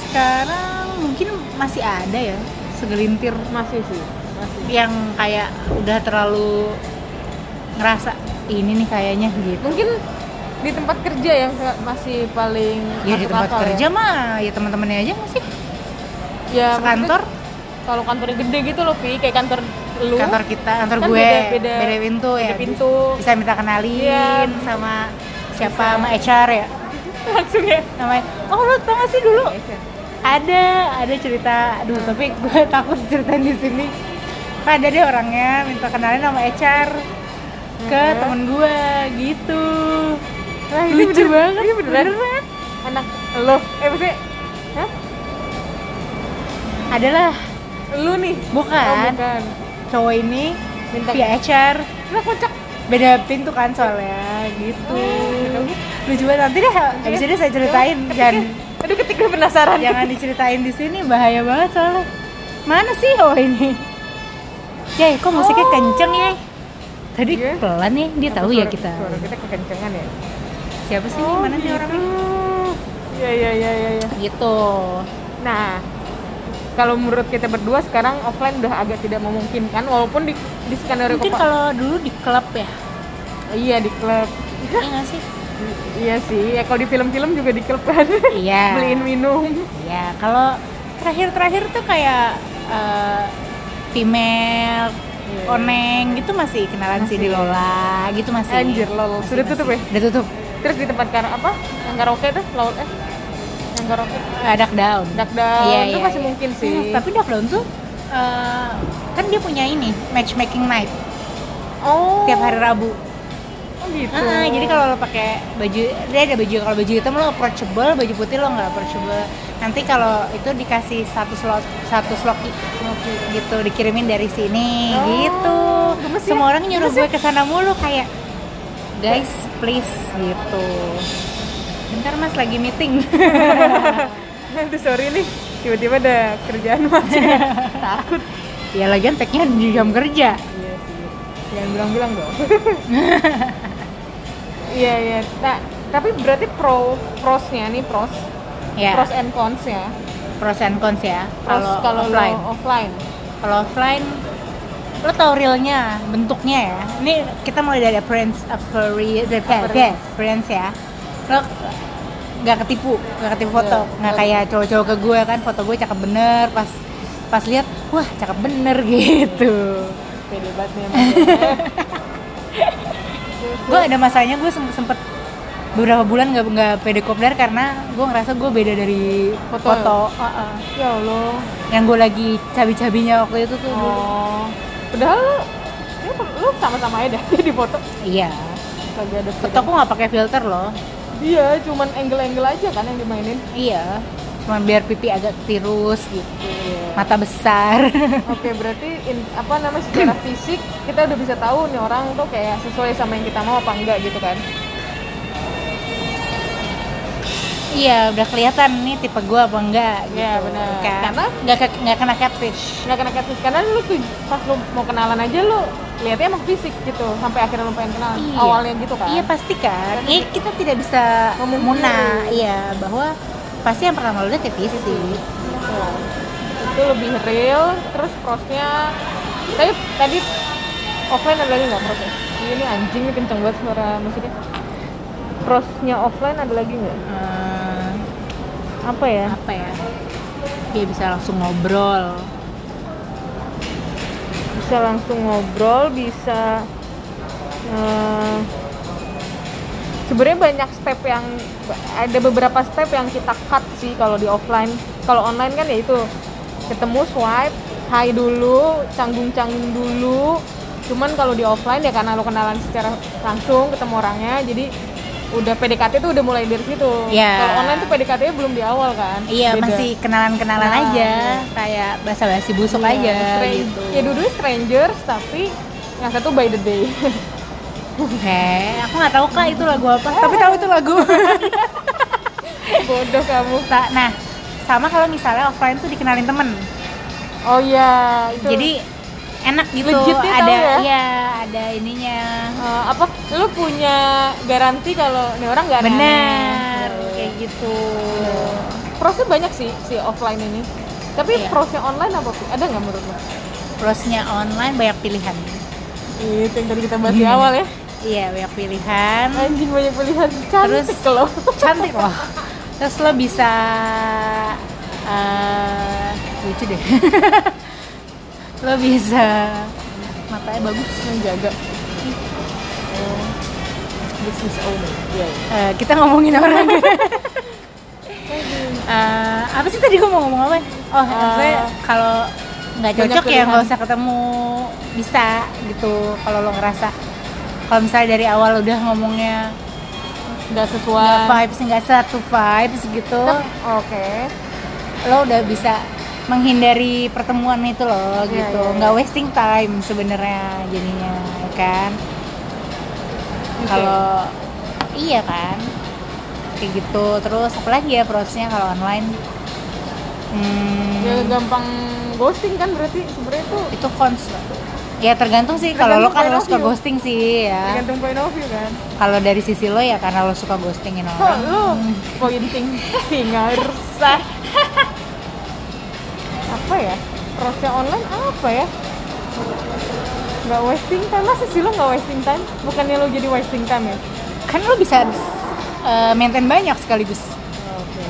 [SPEAKER 1] sekarang mungkin masih ada ya segelintir
[SPEAKER 2] masih sih masih
[SPEAKER 1] yang kayak udah terlalu ngerasa ini nih kayaknya gitu.
[SPEAKER 2] mungkin di tempat kerja yang se- masih paling
[SPEAKER 1] Ya di
[SPEAKER 2] masuk
[SPEAKER 1] tempat
[SPEAKER 2] akal
[SPEAKER 1] kerja
[SPEAKER 2] ya,
[SPEAKER 1] mah ya teman-temannya aja nggak sih?
[SPEAKER 2] ya maksudnya
[SPEAKER 1] Sekantor,
[SPEAKER 2] kalau kantornya gede gitu loh Pi kayak kantor lu
[SPEAKER 1] kantor kita, kantor
[SPEAKER 2] kan
[SPEAKER 1] gue,
[SPEAKER 2] beda-beda-
[SPEAKER 1] pintu ya.
[SPEAKER 2] beda pintu.
[SPEAKER 1] Bisa minta kenalin
[SPEAKER 2] Iya.
[SPEAKER 1] sama siapa
[SPEAKER 2] Bisa.
[SPEAKER 1] sama HR ya.
[SPEAKER 2] langsung ya
[SPEAKER 1] namanya oh lu tau gak sih dulu ada ada cerita aduh tapi gue takut ceritain di sini Kan ada deh orangnya minta kenalin sama HR ke
[SPEAKER 2] Mhm.
[SPEAKER 1] temen gue gitu
[SPEAKER 2] Wah, Nah, ini
[SPEAKER 1] lucu
[SPEAKER 2] bener-
[SPEAKER 1] banget
[SPEAKER 2] ini beneran.
[SPEAKER 1] beneran.
[SPEAKER 2] anak lo eh maksudnya Hah?
[SPEAKER 1] adalah
[SPEAKER 2] lu nih
[SPEAKER 1] Bukan.
[SPEAKER 2] oh, bukan
[SPEAKER 1] cowok ini
[SPEAKER 2] Minta-
[SPEAKER 1] via HR
[SPEAKER 2] Lah, kocak
[SPEAKER 1] beda pintu kan soalnya gitu
[SPEAKER 2] Oh, Iya.
[SPEAKER 1] lucu banget nanti deh habis ini saya ceritain
[SPEAKER 2] Coba,
[SPEAKER 1] jangan
[SPEAKER 2] ketika- aduh ketika penasaran
[SPEAKER 1] jangan diceritain di sini bahaya banget soalnya mana sih oh ini Yay, kok musiknya
[SPEAKER 2] Oh.
[SPEAKER 1] kenceng ya tadi
[SPEAKER 2] Iya.
[SPEAKER 1] pelan ya dia
[SPEAKER 2] Apa
[SPEAKER 1] tahu ya
[SPEAKER 2] suara-
[SPEAKER 1] kita
[SPEAKER 2] suara Oh, gitu. kita kekencengan ya
[SPEAKER 1] siapa sih ini? mana sih orangnya
[SPEAKER 2] Iya iya iya iya. Ya.
[SPEAKER 1] gitu
[SPEAKER 2] Nah, kalau menurut kita berdua sekarang offline udah agak tidak memungkinkan walaupun di di skenario
[SPEAKER 1] mungkin
[SPEAKER 2] kepa-
[SPEAKER 1] kalau dulu di klub ya
[SPEAKER 2] iya di klub.
[SPEAKER 1] iya nggak sih
[SPEAKER 2] I- iya sih, ya kalau di film-film juga di klub kan.
[SPEAKER 1] iya
[SPEAKER 2] Beliin minum.
[SPEAKER 1] iya kalau terakhir-terakhir tuh kayak eh, female
[SPEAKER 2] Iya.
[SPEAKER 1] oneng gitu masih kenalan sih di Lola gitu masih
[SPEAKER 2] Anjir lol. Sudah tutup ya.
[SPEAKER 1] udah tutup
[SPEAKER 2] Terus di tempat kar apa? Yang karaoke tuh laut eh yang karaoke
[SPEAKER 1] Eh, duck down
[SPEAKER 2] Duckdown
[SPEAKER 1] Iya,
[SPEAKER 2] itu masih mungkin sih.
[SPEAKER 1] Hmm, tapi Duckdown tuh eh, kan dia punya ini matchmaking night
[SPEAKER 2] oh.
[SPEAKER 1] tiap hari Rabu.
[SPEAKER 2] Oh gitu.
[SPEAKER 1] Ah, jadi kalau lo pakai baju dia ada baju kalau baju hitam lo approachable, baju putih lo nggak approachable. Nanti kalau itu dikasih satu slot satu sloki
[SPEAKER 2] Oke.
[SPEAKER 1] gitu dikirimin dari sini
[SPEAKER 2] Oh,
[SPEAKER 1] gitu.
[SPEAKER 2] gemes ya,
[SPEAKER 1] Semua orang nyuruh
[SPEAKER 2] gemes ya.
[SPEAKER 1] gue kesana mulu kayak guys please gitu. Bentar mas lagi meeting.
[SPEAKER 2] Aduh sorry nih, tiba-tiba ada kerjaan masih takut.
[SPEAKER 1] ya lagian tagnya di jam kerja.
[SPEAKER 2] Iya sih. Jangan bilang-bilang dong. Iya iya. Nah, tapi berarti pro prosnya nih pros
[SPEAKER 1] Ya.
[SPEAKER 2] pros and cons ya.
[SPEAKER 1] pros and cons ya
[SPEAKER 2] Pros kalau
[SPEAKER 1] kalau
[SPEAKER 2] lo
[SPEAKER 1] offline
[SPEAKER 2] offline.
[SPEAKER 1] kalau offline lo tau realnya bentuknya ya ini kita mulai dari appearance appearance
[SPEAKER 2] Appearance.
[SPEAKER 1] appearance ya lo nggak ketipu nggak ketipu foto
[SPEAKER 2] Iya,
[SPEAKER 1] nggak
[SPEAKER 2] nggak
[SPEAKER 1] kayak cowok-cowok ke gue kan foto gue cakep bener pas pas lihat wah cakep bener gitu
[SPEAKER 2] Pede banget nih emang. Terus
[SPEAKER 1] gue ada masanya gue sem- sempet beberapa bulan nggak nggak pede kopdar karena gue ngerasa gue beda dari
[SPEAKER 2] Foto.
[SPEAKER 1] foto, Heeh.
[SPEAKER 2] ya Allah
[SPEAKER 1] yang gue lagi cabi-cabinya waktu itu tuh dulu.
[SPEAKER 2] oh padahal lu ya, lu sama-sama aja dah di foto
[SPEAKER 1] iya
[SPEAKER 2] kagak ada
[SPEAKER 1] foto aku nggak pakai filter loh
[SPEAKER 2] iya cuman angle-angle aja kan yang dimainin
[SPEAKER 1] iya cuman biar pipi agak tirus gitu
[SPEAKER 2] Iya.
[SPEAKER 1] mata besar
[SPEAKER 2] Oke, berarti in- apa namanya secara fisik kita udah bisa tahu nih orang tuh kayak sesuai sama yang kita mau apa enggak gitu kan.
[SPEAKER 1] iya udah kelihatan nih tipe gue apa enggak gitu
[SPEAKER 2] Iya, benar.
[SPEAKER 1] kan
[SPEAKER 2] Karena-
[SPEAKER 1] nggak ke- nggak kena catfish
[SPEAKER 2] Nggak kena catfish karena lu tuh pas lu mau kenalan aja lu lihatnya emang fisik gitu sampai akhirnya lu pengen kenalan.
[SPEAKER 1] Iya.
[SPEAKER 2] Awalnya gitu kan.
[SPEAKER 1] Iya pasti kan.
[SPEAKER 2] Karena
[SPEAKER 1] Iya kita tidak bisa
[SPEAKER 2] Memungkiri.
[SPEAKER 1] memuna iya bahwa pasti yang pertama lu lihat ya fisik.
[SPEAKER 2] Betul. Itu lebih real, terus prosnya tapi tadi offline ada lagi nggak prosnya? Iya ini anjing nih kenceng banget suara musiknya. Prosnya offline ada lagi nggak?
[SPEAKER 1] Eh,
[SPEAKER 2] Apa ya?
[SPEAKER 1] apa ya? Dia bisa langsung ngobrol.
[SPEAKER 2] bisa langsung ngobrol bisa eh, sebenarnya banyak step yang ada beberapa step yang kita cut sih kalau di offline kalau online kan ya itu ketemu swipe hai dulu canggung-canggung dulu cuman kalau di offline ya karena lo kenalan secara langsung ketemu orangnya jadi udah PDKT tuh udah mulai dari situ
[SPEAKER 1] Iya.
[SPEAKER 2] kalau online tuh PDKT -nya belum di awal kan
[SPEAKER 1] Iya
[SPEAKER 2] Beda.
[SPEAKER 1] masih kenalan-kenalan
[SPEAKER 2] Kenalan,
[SPEAKER 1] aja,
[SPEAKER 2] iya.
[SPEAKER 1] kayak basa-basi busuk aja
[SPEAKER 2] Stran-
[SPEAKER 1] gitu.
[SPEAKER 2] ya dulu strangers tapi yang satu by the day
[SPEAKER 1] Heh, aku nggak tahu kak itu lagu apa. Tapi tahu itu lagu.
[SPEAKER 2] bodoh kamu
[SPEAKER 1] Ta- nah, sama kalau misalnya offline tuh dikenalin temen.
[SPEAKER 2] oh iya itu
[SPEAKER 1] Jadi enak gitu.
[SPEAKER 2] Legit ya,
[SPEAKER 1] ada
[SPEAKER 2] tahu ya?
[SPEAKER 1] iya, ada ininya.
[SPEAKER 2] Eh, apa lu punya garansi kalau ini orang nggak aneh-aneh?
[SPEAKER 1] benar
[SPEAKER 2] Gitu.
[SPEAKER 1] kayak gitu
[SPEAKER 2] prosnya banyak sih si offline ini tapi
[SPEAKER 1] Iya.
[SPEAKER 2] prosnya online apa sih ada nggak menurut lo
[SPEAKER 1] plusnya online banyak pilihan
[SPEAKER 2] itu yang tadi kita bahas di awal ya
[SPEAKER 1] iya banyak pilihan
[SPEAKER 2] anjing banyak pilihan cantik
[SPEAKER 1] Terus-
[SPEAKER 2] lo
[SPEAKER 1] cantik loh terus lo bisa eh lucu deh lo bisa
[SPEAKER 2] Eh,
[SPEAKER 1] matanya bagus
[SPEAKER 2] menjaga Oh, business owner Iya, iya.
[SPEAKER 1] Eh, kita ngomongin orang Eh, apa sih tadi gue mau ngomong apa oh maksudnya kalau nggak
[SPEAKER 2] Eh, banyak
[SPEAKER 1] cocok ya
[SPEAKER 2] pilihan.
[SPEAKER 1] nggak usah ketemu bisa gitu kalau lo ngerasa kalau misalnya dari awal udah ngomongnya
[SPEAKER 2] nggak sesuai
[SPEAKER 1] nggak vibes nggak satu vibes gitu
[SPEAKER 2] oke
[SPEAKER 1] lo udah bisa menghindari pertemuan itu loh
[SPEAKER 2] Iya,
[SPEAKER 1] gitu
[SPEAKER 2] iya, iya.
[SPEAKER 1] nggak wasting time sebenarnya jadinya ya kan
[SPEAKER 2] Oke.
[SPEAKER 1] kalau iya kan kayak gitu terus apalagi ya prosesnya kalau online hmm,
[SPEAKER 2] ya gampang ghosting kan berarti sebenarnya tuh
[SPEAKER 1] itu cons loh. ya tergantung sih kalau lo
[SPEAKER 2] Tergantung
[SPEAKER 1] kan
[SPEAKER 2] point
[SPEAKER 1] lo
[SPEAKER 2] of
[SPEAKER 1] suka
[SPEAKER 2] view.
[SPEAKER 1] ghosting sih ya
[SPEAKER 2] tergantung point of view kan
[SPEAKER 1] kalau dari sisi lo ya karena lo suka ghostingin
[SPEAKER 2] kok
[SPEAKER 1] orang
[SPEAKER 2] lu pointing finger apa ya prosnya online apa ya nggak wasting time masa sih lo nggak wasting time bukannya lo jadi wasting time ya
[SPEAKER 1] kan lo bisa eh, maintain banyak sekaligus
[SPEAKER 2] oke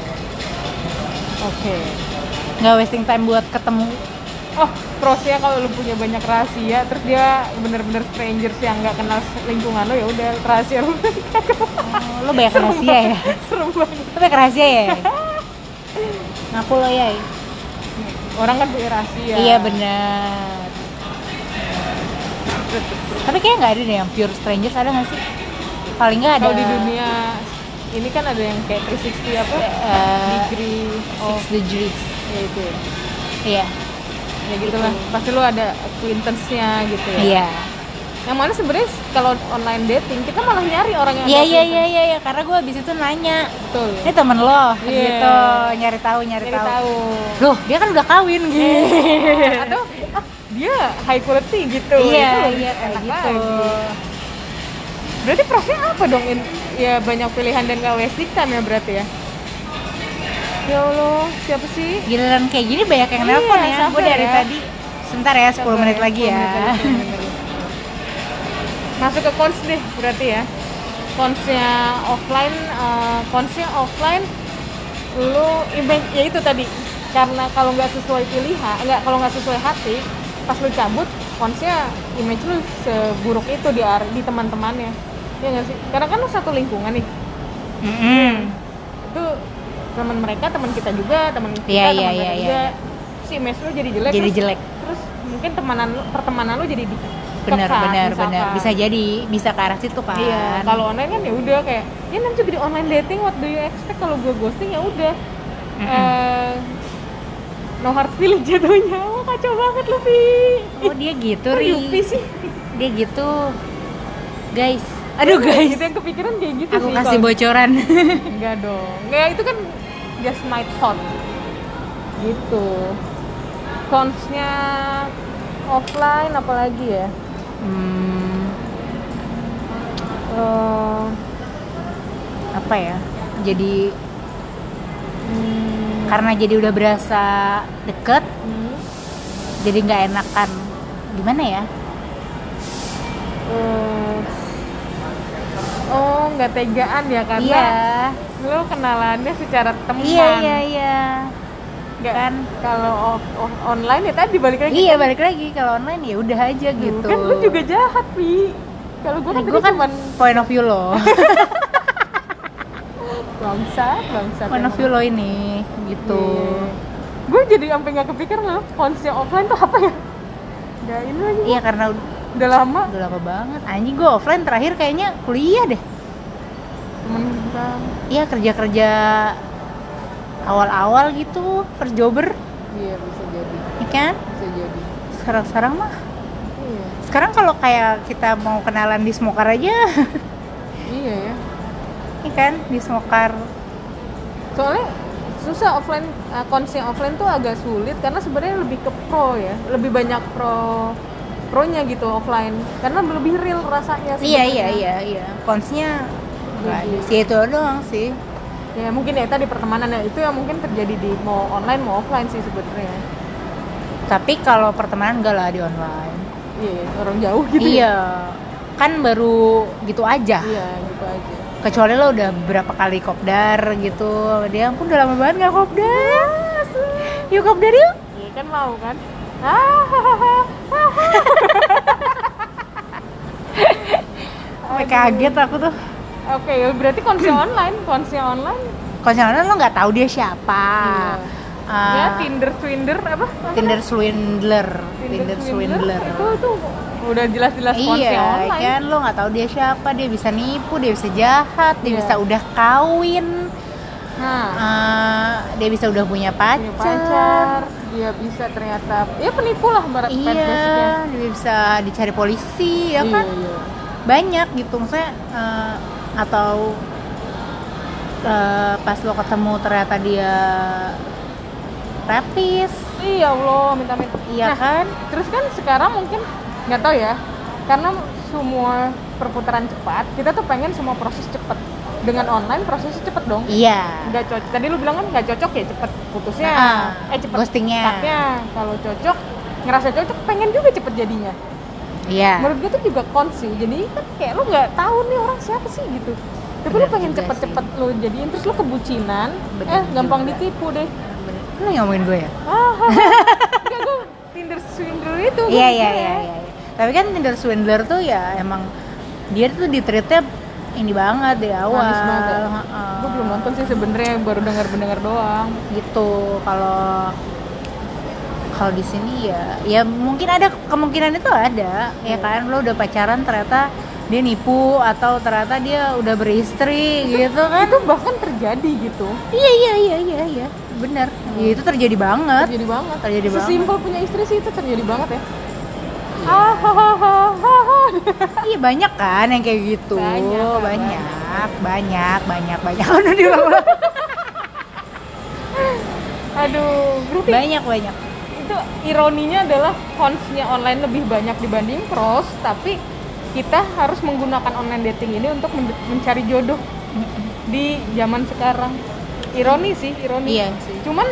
[SPEAKER 2] oke
[SPEAKER 1] nggak wasting time buat ketemu
[SPEAKER 2] oh prosnya kalau lo punya banyak rahasia terus dia bener-bener strangers yang nggak kenal lingkungan lo ya udah rahasia lo
[SPEAKER 1] Oh, lo banyak rahasia ya
[SPEAKER 2] serem banget
[SPEAKER 1] lo banyak rahasia ya ngaku lo ya
[SPEAKER 2] orang kan punya rahasia
[SPEAKER 1] iya benar tapi kayak nggak ada deh yang pure strangers ada nggak sih paling nggak ada
[SPEAKER 2] kalau di dunia ini kan ada yang kayak 360 apa
[SPEAKER 1] Eh,
[SPEAKER 2] degree Oh,
[SPEAKER 1] six
[SPEAKER 2] of
[SPEAKER 1] degrees
[SPEAKER 2] ya itu ya.
[SPEAKER 1] iya
[SPEAKER 2] ya gitulah pasti lu ada acquaintance-nya gitu ya
[SPEAKER 1] iya
[SPEAKER 2] yang mana sebenarnya kalau online dating kita malah nyari orang yang ada
[SPEAKER 1] iya iya iya
[SPEAKER 2] acquaintance.
[SPEAKER 1] iya karena gue abis itu nanya
[SPEAKER 2] betul
[SPEAKER 1] ini temen lo
[SPEAKER 2] Iya.
[SPEAKER 1] gitu nyari tahu nyari,
[SPEAKER 2] nyari
[SPEAKER 1] tahu.
[SPEAKER 2] tahu Iya.
[SPEAKER 1] loh dia kan udah kawin gitu
[SPEAKER 2] atau ah, dia high quality gitu
[SPEAKER 1] iya
[SPEAKER 2] Itu lebih
[SPEAKER 1] iya kayak
[SPEAKER 2] enak
[SPEAKER 1] gitu
[SPEAKER 2] lagi. berarti prosesnya apa dong In- ya banyak pilihan dan gak wasting time ya berarti ya ya Allah siapa sih
[SPEAKER 1] giliran kayak gini banyak yang
[SPEAKER 2] Iya,
[SPEAKER 1] nelpon ya
[SPEAKER 2] sabar
[SPEAKER 1] gue dari
[SPEAKER 2] ya.
[SPEAKER 1] tadi sebentar ya 10 menit
[SPEAKER 2] Sabar,
[SPEAKER 1] lagi
[SPEAKER 2] 10
[SPEAKER 1] ya
[SPEAKER 2] menit lagi, 10 menit lagi. Masuk ke cons deh berarti ya. Consnya offline, eh, consnya offline lu image ya itu tadi. Karena kalau nggak sesuai pilihan, nggak kalau nggak sesuai hati, pas lu cabut, consnya image lu seburuk itu di ar- di teman-temannya. ya nggak sih karena kan lu satu lingkungan nih
[SPEAKER 1] Mm-mm.
[SPEAKER 2] itu teman mereka teman kita juga teman kita
[SPEAKER 1] Iya,
[SPEAKER 2] teman
[SPEAKER 1] iya,
[SPEAKER 2] mereka
[SPEAKER 1] iya, iya,
[SPEAKER 2] juga si mes lu jadi jelek
[SPEAKER 1] jadi
[SPEAKER 2] terus,
[SPEAKER 1] jelek
[SPEAKER 2] terus mungkin temanan lu- pertemanan lu jadi di-
[SPEAKER 1] benar
[SPEAKER 2] kekat,
[SPEAKER 1] benar benar
[SPEAKER 2] misalkan.
[SPEAKER 1] bisa jadi bisa ke arah situ kan
[SPEAKER 2] iya kalau online kan ya udah kayak ya nanti juga di online dating what do you expect kalau gue ghosting ya udah
[SPEAKER 1] Mm-mm.
[SPEAKER 2] Eh, no hard feeling jatuhnya wah kacau banget lu Vi
[SPEAKER 1] oh dia gitu
[SPEAKER 2] Kok
[SPEAKER 1] ri
[SPEAKER 2] Yupi sih
[SPEAKER 1] dia gitu guys aduh guys
[SPEAKER 2] gitu yang kepikiran kayak gitu
[SPEAKER 1] aku
[SPEAKER 2] sih
[SPEAKER 1] kasih
[SPEAKER 2] kalau-
[SPEAKER 1] bocoran
[SPEAKER 2] enggak dong ya itu kan just my thought gitu consnya offline apalagi ya
[SPEAKER 1] hmm,
[SPEAKER 2] Eh,
[SPEAKER 1] apa ya jadi
[SPEAKER 2] hmm,
[SPEAKER 1] karena jadi udah berasa deket
[SPEAKER 2] hmm,
[SPEAKER 1] jadi nggak enakan gimana ya
[SPEAKER 2] eh, oh nggak tegaan ya
[SPEAKER 1] iya
[SPEAKER 2] karena lo kenalannya secara teman
[SPEAKER 1] iya iya iya
[SPEAKER 2] Nggak-
[SPEAKER 1] kan.
[SPEAKER 2] kalau off- off- online ya tadi balik lagi
[SPEAKER 1] iya balik lagi kalau online ya udah aja gitu
[SPEAKER 2] kan lu juga jahat pi kalau gue kan
[SPEAKER 1] Nih, gua
[SPEAKER 2] tadi
[SPEAKER 1] kan
[SPEAKER 2] cuman
[SPEAKER 1] point of view lo
[SPEAKER 2] bangsa bangsa
[SPEAKER 1] point of view lo ini gitu
[SPEAKER 2] Gue jadi sampai nggak kepikiran loh konsep offline tuh apa ya? Gak ini lagi.
[SPEAKER 1] iya karena ud-
[SPEAKER 2] Udah lama
[SPEAKER 1] udah lama banget anjing gue offline terakhir kayaknya kuliah deh
[SPEAKER 2] temen kita.
[SPEAKER 1] iya kerja kerja awal-awal gitu first jobber
[SPEAKER 2] Iya bisa jadi,
[SPEAKER 1] ya kan
[SPEAKER 2] bisa jadi.
[SPEAKER 1] sekarang sekarang mah
[SPEAKER 2] Iya,
[SPEAKER 1] sekarang kalau kayak kita mau kenalan di smokar aja
[SPEAKER 2] iya ya.
[SPEAKER 1] ya kan di smokar
[SPEAKER 2] Soalnya susah offline uh, konsep offline tuh agak sulit karena sebenarnya lebih ke pro ya, lebih banyak pro pronya gitu offline karena lebih real rasanya
[SPEAKER 1] iya iya
[SPEAKER 2] sebenarnya.
[SPEAKER 1] iya iya konsnya
[SPEAKER 2] Iya,
[SPEAKER 1] nggak ada
[SPEAKER 2] Jadi-
[SPEAKER 1] sih itu doang sih
[SPEAKER 2] ya mungkin ya tadi pertemanan ya itu yang mungkin terjadi di mau online mau offline sih sebenarnya
[SPEAKER 1] tapi kalau pertemanan enggak lah di online
[SPEAKER 2] iya orang jauh gitu ya.
[SPEAKER 1] iya kan baru gitu aja
[SPEAKER 2] iya gitu aja
[SPEAKER 1] kecuali lo udah berapa kali kopdar gitu dia pun udah lama banget nggak kopdar yuk kopdar yuk
[SPEAKER 2] Iya kan mau kan? Ah,
[SPEAKER 1] Sampai kaget aku tuh
[SPEAKER 2] Oke, ya berarti konser online, konser online.
[SPEAKER 1] konselor lo nggak tahu dia siapa
[SPEAKER 2] ya
[SPEAKER 1] Ah,
[SPEAKER 2] Tinder, Swinder apa?
[SPEAKER 1] Tinder swindler
[SPEAKER 2] Tinder,
[SPEAKER 1] Tinder swindler
[SPEAKER 2] Itu tuh udah jelas-jelas konser
[SPEAKER 1] iya
[SPEAKER 2] online.
[SPEAKER 1] kan lo nggak tahu dia siapa dia bisa nipu dia bisa jahat dia
[SPEAKER 2] Iya.
[SPEAKER 1] bisa udah kawin
[SPEAKER 2] Nah,
[SPEAKER 1] eh, dia bisa udah punya
[SPEAKER 2] punya
[SPEAKER 1] pacar,
[SPEAKER 2] pacar, dia bisa ternyata ya penipu lah barat
[SPEAKER 1] iya dia bisa dicari polisi ya kan
[SPEAKER 2] Iya,
[SPEAKER 1] banyak gitu maksudnya eh, atau eh, pas lo ketemu ternyata dia terapis
[SPEAKER 2] Iya, Allah, minta-minta.
[SPEAKER 1] iya
[SPEAKER 2] Nah,
[SPEAKER 1] kan
[SPEAKER 2] terus kan sekarang mungkin nggak tahu ya karena semua perputaran cepat kita tuh pengen semua proses cepat dengan online prosesnya cepet dong
[SPEAKER 1] iya
[SPEAKER 2] nggak cocok tadi lu bilang kan nggak cocok ya cepet putusnya
[SPEAKER 1] Nah,
[SPEAKER 2] eh cepet
[SPEAKER 1] ghostingnya.
[SPEAKER 2] kontaknya. kalau cocok ngerasa cocok pengen juga cepet jadinya
[SPEAKER 1] iya
[SPEAKER 2] menurut gue tuh juga cons sih jadi kan kayak lu nggak tahu nih orang siapa sih gitu tapi lu
[SPEAKER 1] Benar
[SPEAKER 2] pengen
[SPEAKER 1] juga
[SPEAKER 2] cepet-cepet lu jadiin terus lu kebucinan
[SPEAKER 1] Benar
[SPEAKER 2] eh gampang
[SPEAKER 1] juga.
[SPEAKER 2] ditipu deh
[SPEAKER 1] lo ngomongin gue ya
[SPEAKER 2] ah, enggak gue tinder swindler itu gitu ya. gua
[SPEAKER 1] Iya iya
[SPEAKER 2] mikirnya.
[SPEAKER 1] iya iya. Tapi kan Tinder swindler tuh ya emang dia tuh di treatnya ini banget di awal.
[SPEAKER 2] Manis banget ya?
[SPEAKER 1] Heeh.
[SPEAKER 2] gue belum nonton sih sebenarnya baru dengar dengar doang
[SPEAKER 1] Gitu kalau kalau di sini ya ya mungkin ada kemungkinan itu ada ya kan lo udah pacaran ternyata dia nipu atau ternyata dia udah beristri gitu kan
[SPEAKER 2] itu bahkan terjadi gitu
[SPEAKER 1] iya iya iya iya iya bener ya, itu terjadi banget
[SPEAKER 2] terjadi banget
[SPEAKER 1] Terjadi banget.
[SPEAKER 2] sesimpel punya istri sih itu terjadi banget ya Ah, ha, ha, ha, ha, ha.
[SPEAKER 1] Iya banyak kan yang kayak gitu.
[SPEAKER 2] Banyak,
[SPEAKER 1] Banyak,
[SPEAKER 2] Kak,
[SPEAKER 1] banyak, banyak, banyak, banyak. Aduh, diulang-ulang.
[SPEAKER 2] aduh berarti
[SPEAKER 1] banyak, banyak.
[SPEAKER 2] itu ironinya adalah consnya online lebih banyak dibanding pros tapi kita harus menggunakan online dating ini untuk men- mencari jodoh di zaman sekarang ironi sih ironi
[SPEAKER 1] Iya sih.
[SPEAKER 2] cuman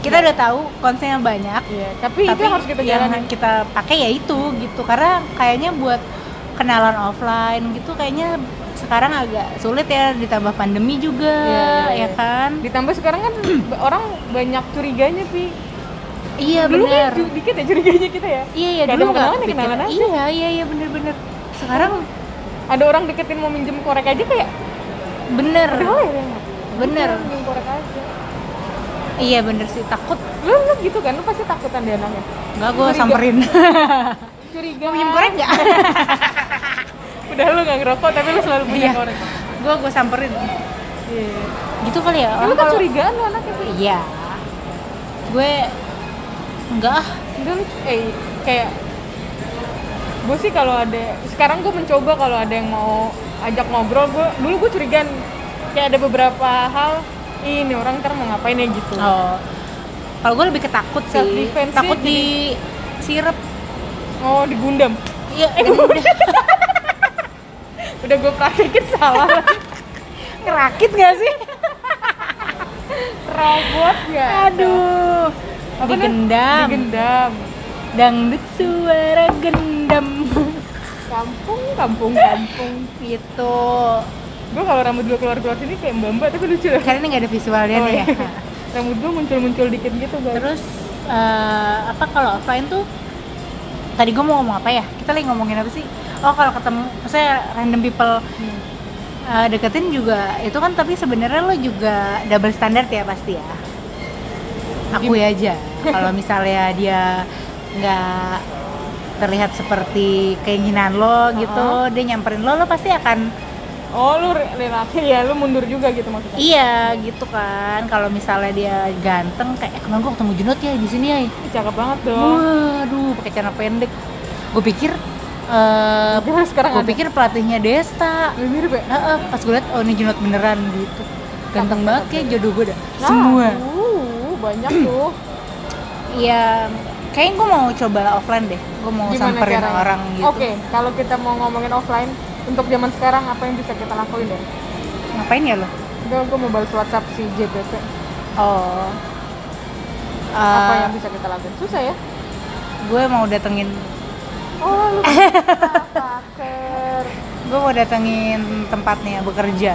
[SPEAKER 1] Kita udah tahu konsen yang banyak,
[SPEAKER 2] ya tapi, itu harus kita
[SPEAKER 1] yang
[SPEAKER 2] jalani
[SPEAKER 1] kita pakai ya itu gitu. Karena kayaknya buat kenalan offline gitu kayaknya sekarang agak sulit ya ditambah pandemi juga
[SPEAKER 2] Iya, iya, iya.
[SPEAKER 1] ya kan?
[SPEAKER 2] ditambah sekarang kan orang banyak curiganya sih
[SPEAKER 1] Iya
[SPEAKER 2] dulu
[SPEAKER 1] benar.
[SPEAKER 2] kan ju- dikit ya curiganya kita ya
[SPEAKER 1] Iya iya
[SPEAKER 2] Gak ada
[SPEAKER 1] dulu nggak
[SPEAKER 2] kenalan ya kenalan
[SPEAKER 1] kepikiran. Iya iya iya bener-bener. Sekarang
[SPEAKER 2] ada orang deketin mau minjem korek aja kayak
[SPEAKER 1] bener
[SPEAKER 2] udah lah ya
[SPEAKER 1] bener
[SPEAKER 2] minjem korek aja
[SPEAKER 1] iya bener sih takut
[SPEAKER 2] lu lu gitu kan lu pasti takutan deh anaknya
[SPEAKER 1] nggak gue
[SPEAKER 2] Curiga.
[SPEAKER 1] samperin
[SPEAKER 2] curiga
[SPEAKER 1] mau minjem korek nggak
[SPEAKER 2] udah lu nggak ngerokok tapi lu selalu punya
[SPEAKER 1] Iya.
[SPEAKER 2] korek
[SPEAKER 1] gue gue samperin
[SPEAKER 2] iya
[SPEAKER 1] gitu kali ya
[SPEAKER 2] lu
[SPEAKER 1] orang
[SPEAKER 2] kan
[SPEAKER 1] kalau-
[SPEAKER 2] curigaan lu anaknya Pi.
[SPEAKER 1] iya gue enggak ah.
[SPEAKER 2] Enggak lu, eh kayak gue sih kalau ada sekarang gue mencoba kalau ada yang mau ajak ngobrol gue dulu gue curigaan kayak ada beberapa hal "Ih, ini orang ntar mau ngapain ya gitu
[SPEAKER 1] oh kalau gue lebih ketakut
[SPEAKER 2] Self
[SPEAKER 1] sih
[SPEAKER 2] defense-nya
[SPEAKER 1] takut
[SPEAKER 2] jadi-
[SPEAKER 1] di sirep
[SPEAKER 2] oh digundam
[SPEAKER 1] iya udah
[SPEAKER 2] udah gue praktekin salah
[SPEAKER 1] ngerakit nggak sih
[SPEAKER 2] robot ya
[SPEAKER 1] aduh
[SPEAKER 2] Apa nih?
[SPEAKER 1] digendam
[SPEAKER 2] digendam
[SPEAKER 1] dangdut suara gendam
[SPEAKER 2] kampung kampung kampung
[SPEAKER 1] gitu
[SPEAKER 2] gue kalau rambut gue keluar keluar sini kayak mbak mbak tapi lucu lah
[SPEAKER 1] karena ini nggak ada visualnya
[SPEAKER 2] Oh,
[SPEAKER 1] nih ya
[SPEAKER 2] iya. rambut gue muncul muncul dikit gitu baru
[SPEAKER 1] terus eh, apa kalau offline tuh tadi gue mau ngomong apa ya kita lagi ngomongin apa sih oh kalau ketemu saya random people
[SPEAKER 2] Hmm.
[SPEAKER 1] eh, deketin juga itu kan tapi sebenarnya lo juga double standard ya pasti ya aku ya aja kalau misalnya dia nggak terlihat seperti keinginan lo gitu
[SPEAKER 2] Uh-uh.
[SPEAKER 1] dia nyamperin lo lo pasti akan
[SPEAKER 2] oh lu re- relasi ya lu mundur juga gitu maksudnya
[SPEAKER 1] iya gitu kan kalau misalnya dia ganteng kayak "Eh, kemarin gue ketemu Junot ya di sini ya
[SPEAKER 2] Ih, cakep banget dong
[SPEAKER 1] Waduh, pakai celana pendek. Gue pikir, eh
[SPEAKER 2] Gimana sekarang
[SPEAKER 1] gue
[SPEAKER 2] ada?
[SPEAKER 1] pikir pelatihnya Desta.
[SPEAKER 2] Lebih mirip ya?
[SPEAKER 1] Heeh, pas gue liat, oh ini Junot beneran gitu. Ganteng banget kayak jodoh gue dah.
[SPEAKER 2] Nah,
[SPEAKER 1] Semua.
[SPEAKER 2] uh, banyak tuh.
[SPEAKER 1] Iya, kayaknya gue mau coba offline deh. Gue mau samperin
[SPEAKER 2] caranya?
[SPEAKER 1] orang gitu.
[SPEAKER 2] Oke, kalau kita mau ngomongin offline, untuk zaman sekarang apa yang bisa kita lakuin ya?
[SPEAKER 1] Ngapain ya lo?
[SPEAKER 2] Gue gue mau balas WhatsApp si JPP.
[SPEAKER 1] Oh.
[SPEAKER 2] apa
[SPEAKER 1] Eh,
[SPEAKER 2] yang bisa kita lakuin? Susah ya?
[SPEAKER 1] gue mau datengin
[SPEAKER 2] Oh, lu paker.
[SPEAKER 1] gue mau datengin tempatnya bekerja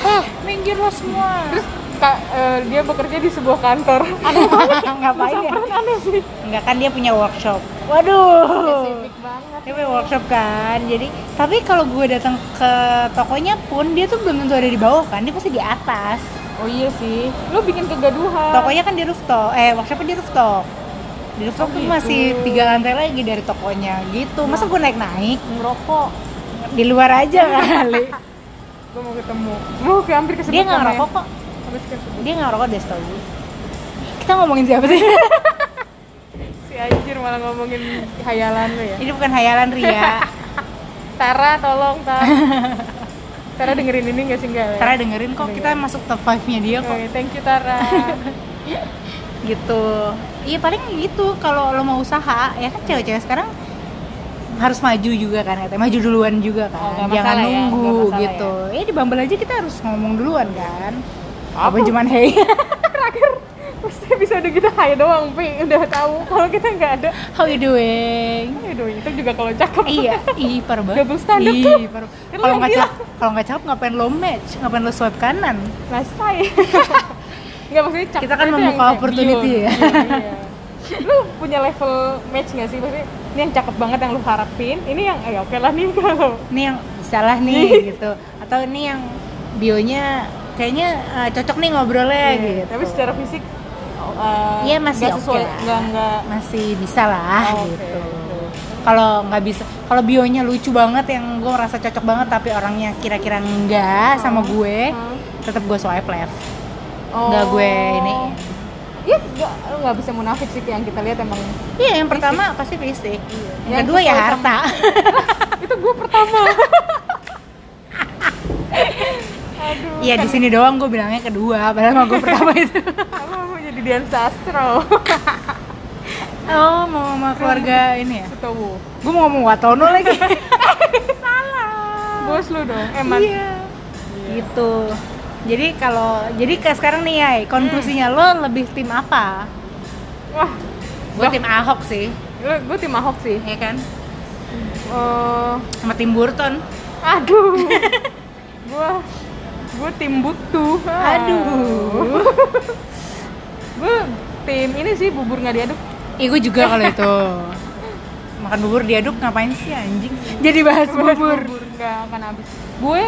[SPEAKER 1] Hah, minggir lo semua
[SPEAKER 2] Terus Kak, eh, dia bekerja di sebuah kantor. Oh,
[SPEAKER 1] ngapain ya
[SPEAKER 2] Kan aneh sih.
[SPEAKER 1] Enggak kan dia punya workshop. Waduh.
[SPEAKER 2] Spesifik banget.
[SPEAKER 1] Dia punya workshop kan. Jadi tapi kalau gue datang ke tokonya pun dia tuh belum tentu ada di bawah kan. Dia pasti di atas.
[SPEAKER 2] Oh iya sih. Lu bikin kegaduhan.
[SPEAKER 1] Tokonya kan di rooftop. Eh workshopnya di rooftop. Di
[SPEAKER 2] Oh,
[SPEAKER 1] rooftop tuh
[SPEAKER 2] gitu.
[SPEAKER 1] masih tiga lantai lagi dari tokonya gitu. Masa gue naik naik
[SPEAKER 2] ngerokok.
[SPEAKER 1] di luar aja kali.
[SPEAKER 2] Gue mau ketemu. Mau ke hampir kesebut
[SPEAKER 1] dia
[SPEAKER 2] sama
[SPEAKER 1] nggak
[SPEAKER 2] ya.
[SPEAKER 1] ngerokok kok.
[SPEAKER 2] Hampir kesebut.
[SPEAKER 1] Dia nggak ngerokok deh setahu gue. Kita ngomongin siapa sih?
[SPEAKER 2] Si anjir malah ngomongin khayalan lu ya.
[SPEAKER 1] Ini bukan hayalan Ria.
[SPEAKER 2] Tara tolong Tara Tara dengerin ini nggak sih enggak ya?
[SPEAKER 1] Tara dengerin kok kita masuk top 5-nya dia kok.
[SPEAKER 2] Oke, thank you Tara
[SPEAKER 1] gitu iya paling gitu kalau lo mau usaha ya kan cewek-cewek sekarang harus maju juga kan katanya maju duluan juga kan
[SPEAKER 2] Oh, nggak
[SPEAKER 1] jangan
[SPEAKER 2] masalah ya,
[SPEAKER 1] nunggu
[SPEAKER 2] nggak masalah
[SPEAKER 1] gitu ya. di Bumble aja kita harus ngomong duluan kan apa,
[SPEAKER 2] Apa?
[SPEAKER 1] cuman hey
[SPEAKER 2] Terakhir Pasti bisa udah kita hai doang Pi Udah tahu kalau kita nggak ada
[SPEAKER 1] how you doing
[SPEAKER 2] Aduh itu juga kalau cakep
[SPEAKER 1] iya ih parah banget
[SPEAKER 2] Double standard
[SPEAKER 1] Ih,
[SPEAKER 2] tuh.
[SPEAKER 1] parah.
[SPEAKER 2] Kan lo
[SPEAKER 1] kalau
[SPEAKER 2] yang
[SPEAKER 1] nggak
[SPEAKER 2] bilang.
[SPEAKER 1] cakep kalau nggak cakep ngapain lo match ngapain lo swipe kanan
[SPEAKER 2] Last time Nggak maksudnya cakep
[SPEAKER 1] Kita kan
[SPEAKER 2] itu yang
[SPEAKER 1] membuka
[SPEAKER 2] kayak
[SPEAKER 1] opportunity
[SPEAKER 2] beyond.
[SPEAKER 1] ya.
[SPEAKER 2] Iya, iya. Lu punya level match nggak sih? Maksudnya ini yang cakep banget yang lu harapin Ini yang, eh oke lah nih kalau
[SPEAKER 1] ini yang salah nih gitu atau ini yang bionya kayaknya eh, cocok nih ngobrolnya gitu
[SPEAKER 2] Iya, Tapi secara fisik uh,
[SPEAKER 1] Iya, masih
[SPEAKER 2] nggak
[SPEAKER 1] oke
[SPEAKER 2] sesuai,
[SPEAKER 1] lah.
[SPEAKER 2] nggak nggak
[SPEAKER 1] masih bisa lah
[SPEAKER 2] Oh, oke,
[SPEAKER 1] gitu.
[SPEAKER 2] oke.
[SPEAKER 1] Kalau nggak bisa, kalau bionya lucu banget yang gue merasa cocok banget tapi orangnya kira-kira enggak sama gue,
[SPEAKER 2] Hmm.
[SPEAKER 1] tetap gue swipe left.
[SPEAKER 2] Oh.
[SPEAKER 1] Eh, Nggak gue ini.
[SPEAKER 2] Iya, nggak lu nggak bisa munafik sih yang kita lihat emang.
[SPEAKER 1] Iya, yang pertama pasti fisik. Yang,
[SPEAKER 2] Yang
[SPEAKER 1] kedua ya
[SPEAKER 2] sesuai
[SPEAKER 1] harta.
[SPEAKER 2] Itu gue pertama. Aduh.
[SPEAKER 1] Iya di
[SPEAKER 2] kan-
[SPEAKER 1] sini doang gue bilangnya kedua, padahal mah gue pertama itu.
[SPEAKER 2] Apa mau jadi Dian Sastro?
[SPEAKER 1] Oh, mau sama keluarga ini ya.
[SPEAKER 2] Setowo.
[SPEAKER 1] Gue mau ngomong Watono lagi.
[SPEAKER 2] Bos lu dong. eh, Eman.
[SPEAKER 1] Iya. Gitu. Jadi kalau jadi kayak sekarang nih ya, konklusinya lo lebih tim apa?
[SPEAKER 2] Wah,
[SPEAKER 1] Gue tim Ahok sih,
[SPEAKER 2] lu gue tim Ahok sih.
[SPEAKER 1] ya kan?
[SPEAKER 2] Eh,
[SPEAKER 1] Sama tim Burton.
[SPEAKER 2] aduh. gue gue tim Buktu.
[SPEAKER 1] Aduh.
[SPEAKER 2] Gue tim ini sih bubur nggak diaduk.
[SPEAKER 1] Ih, gue juga kalau itu. Makan bubur diaduk ngapain sih anjing? Jadi bahas bubur.
[SPEAKER 2] nggak akan habis gue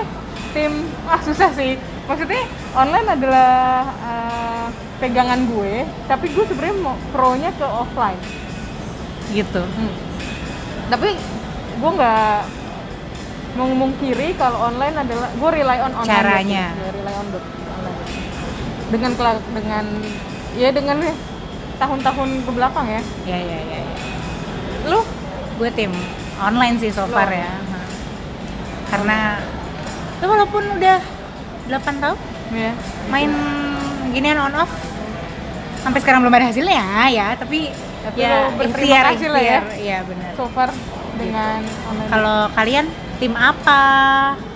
[SPEAKER 2] tim ah susah sih maksudnya online adalah eh, pegangan gue tapi gue sebenarnya mau pro-nya ke offline
[SPEAKER 1] gitu
[SPEAKER 2] Hmm. tapi gue nggak mengungkiri kalau online adalah gue rely on online
[SPEAKER 1] Caranya.
[SPEAKER 2] dating. Gue rely on dot- online dating. dengan kela- dengan ya dengan tahun-tahun ke belakang ya
[SPEAKER 1] ya ya ya, ya.
[SPEAKER 2] lu
[SPEAKER 1] gue tim online sih so
[SPEAKER 2] Lo
[SPEAKER 1] far
[SPEAKER 2] online.
[SPEAKER 1] ya Hah. karena ya walaupun udah 8 tahun
[SPEAKER 2] ya
[SPEAKER 1] main ginian on off sampai sekarang belum ada hasilnya ya, ya tapi,
[SPEAKER 2] Tapi
[SPEAKER 1] ya
[SPEAKER 2] lo berterima
[SPEAKER 1] ikhtiar
[SPEAKER 2] kasih lah ya.
[SPEAKER 1] ikhtiar. iya benar
[SPEAKER 2] so far dengan online
[SPEAKER 1] kalau kalian tim apa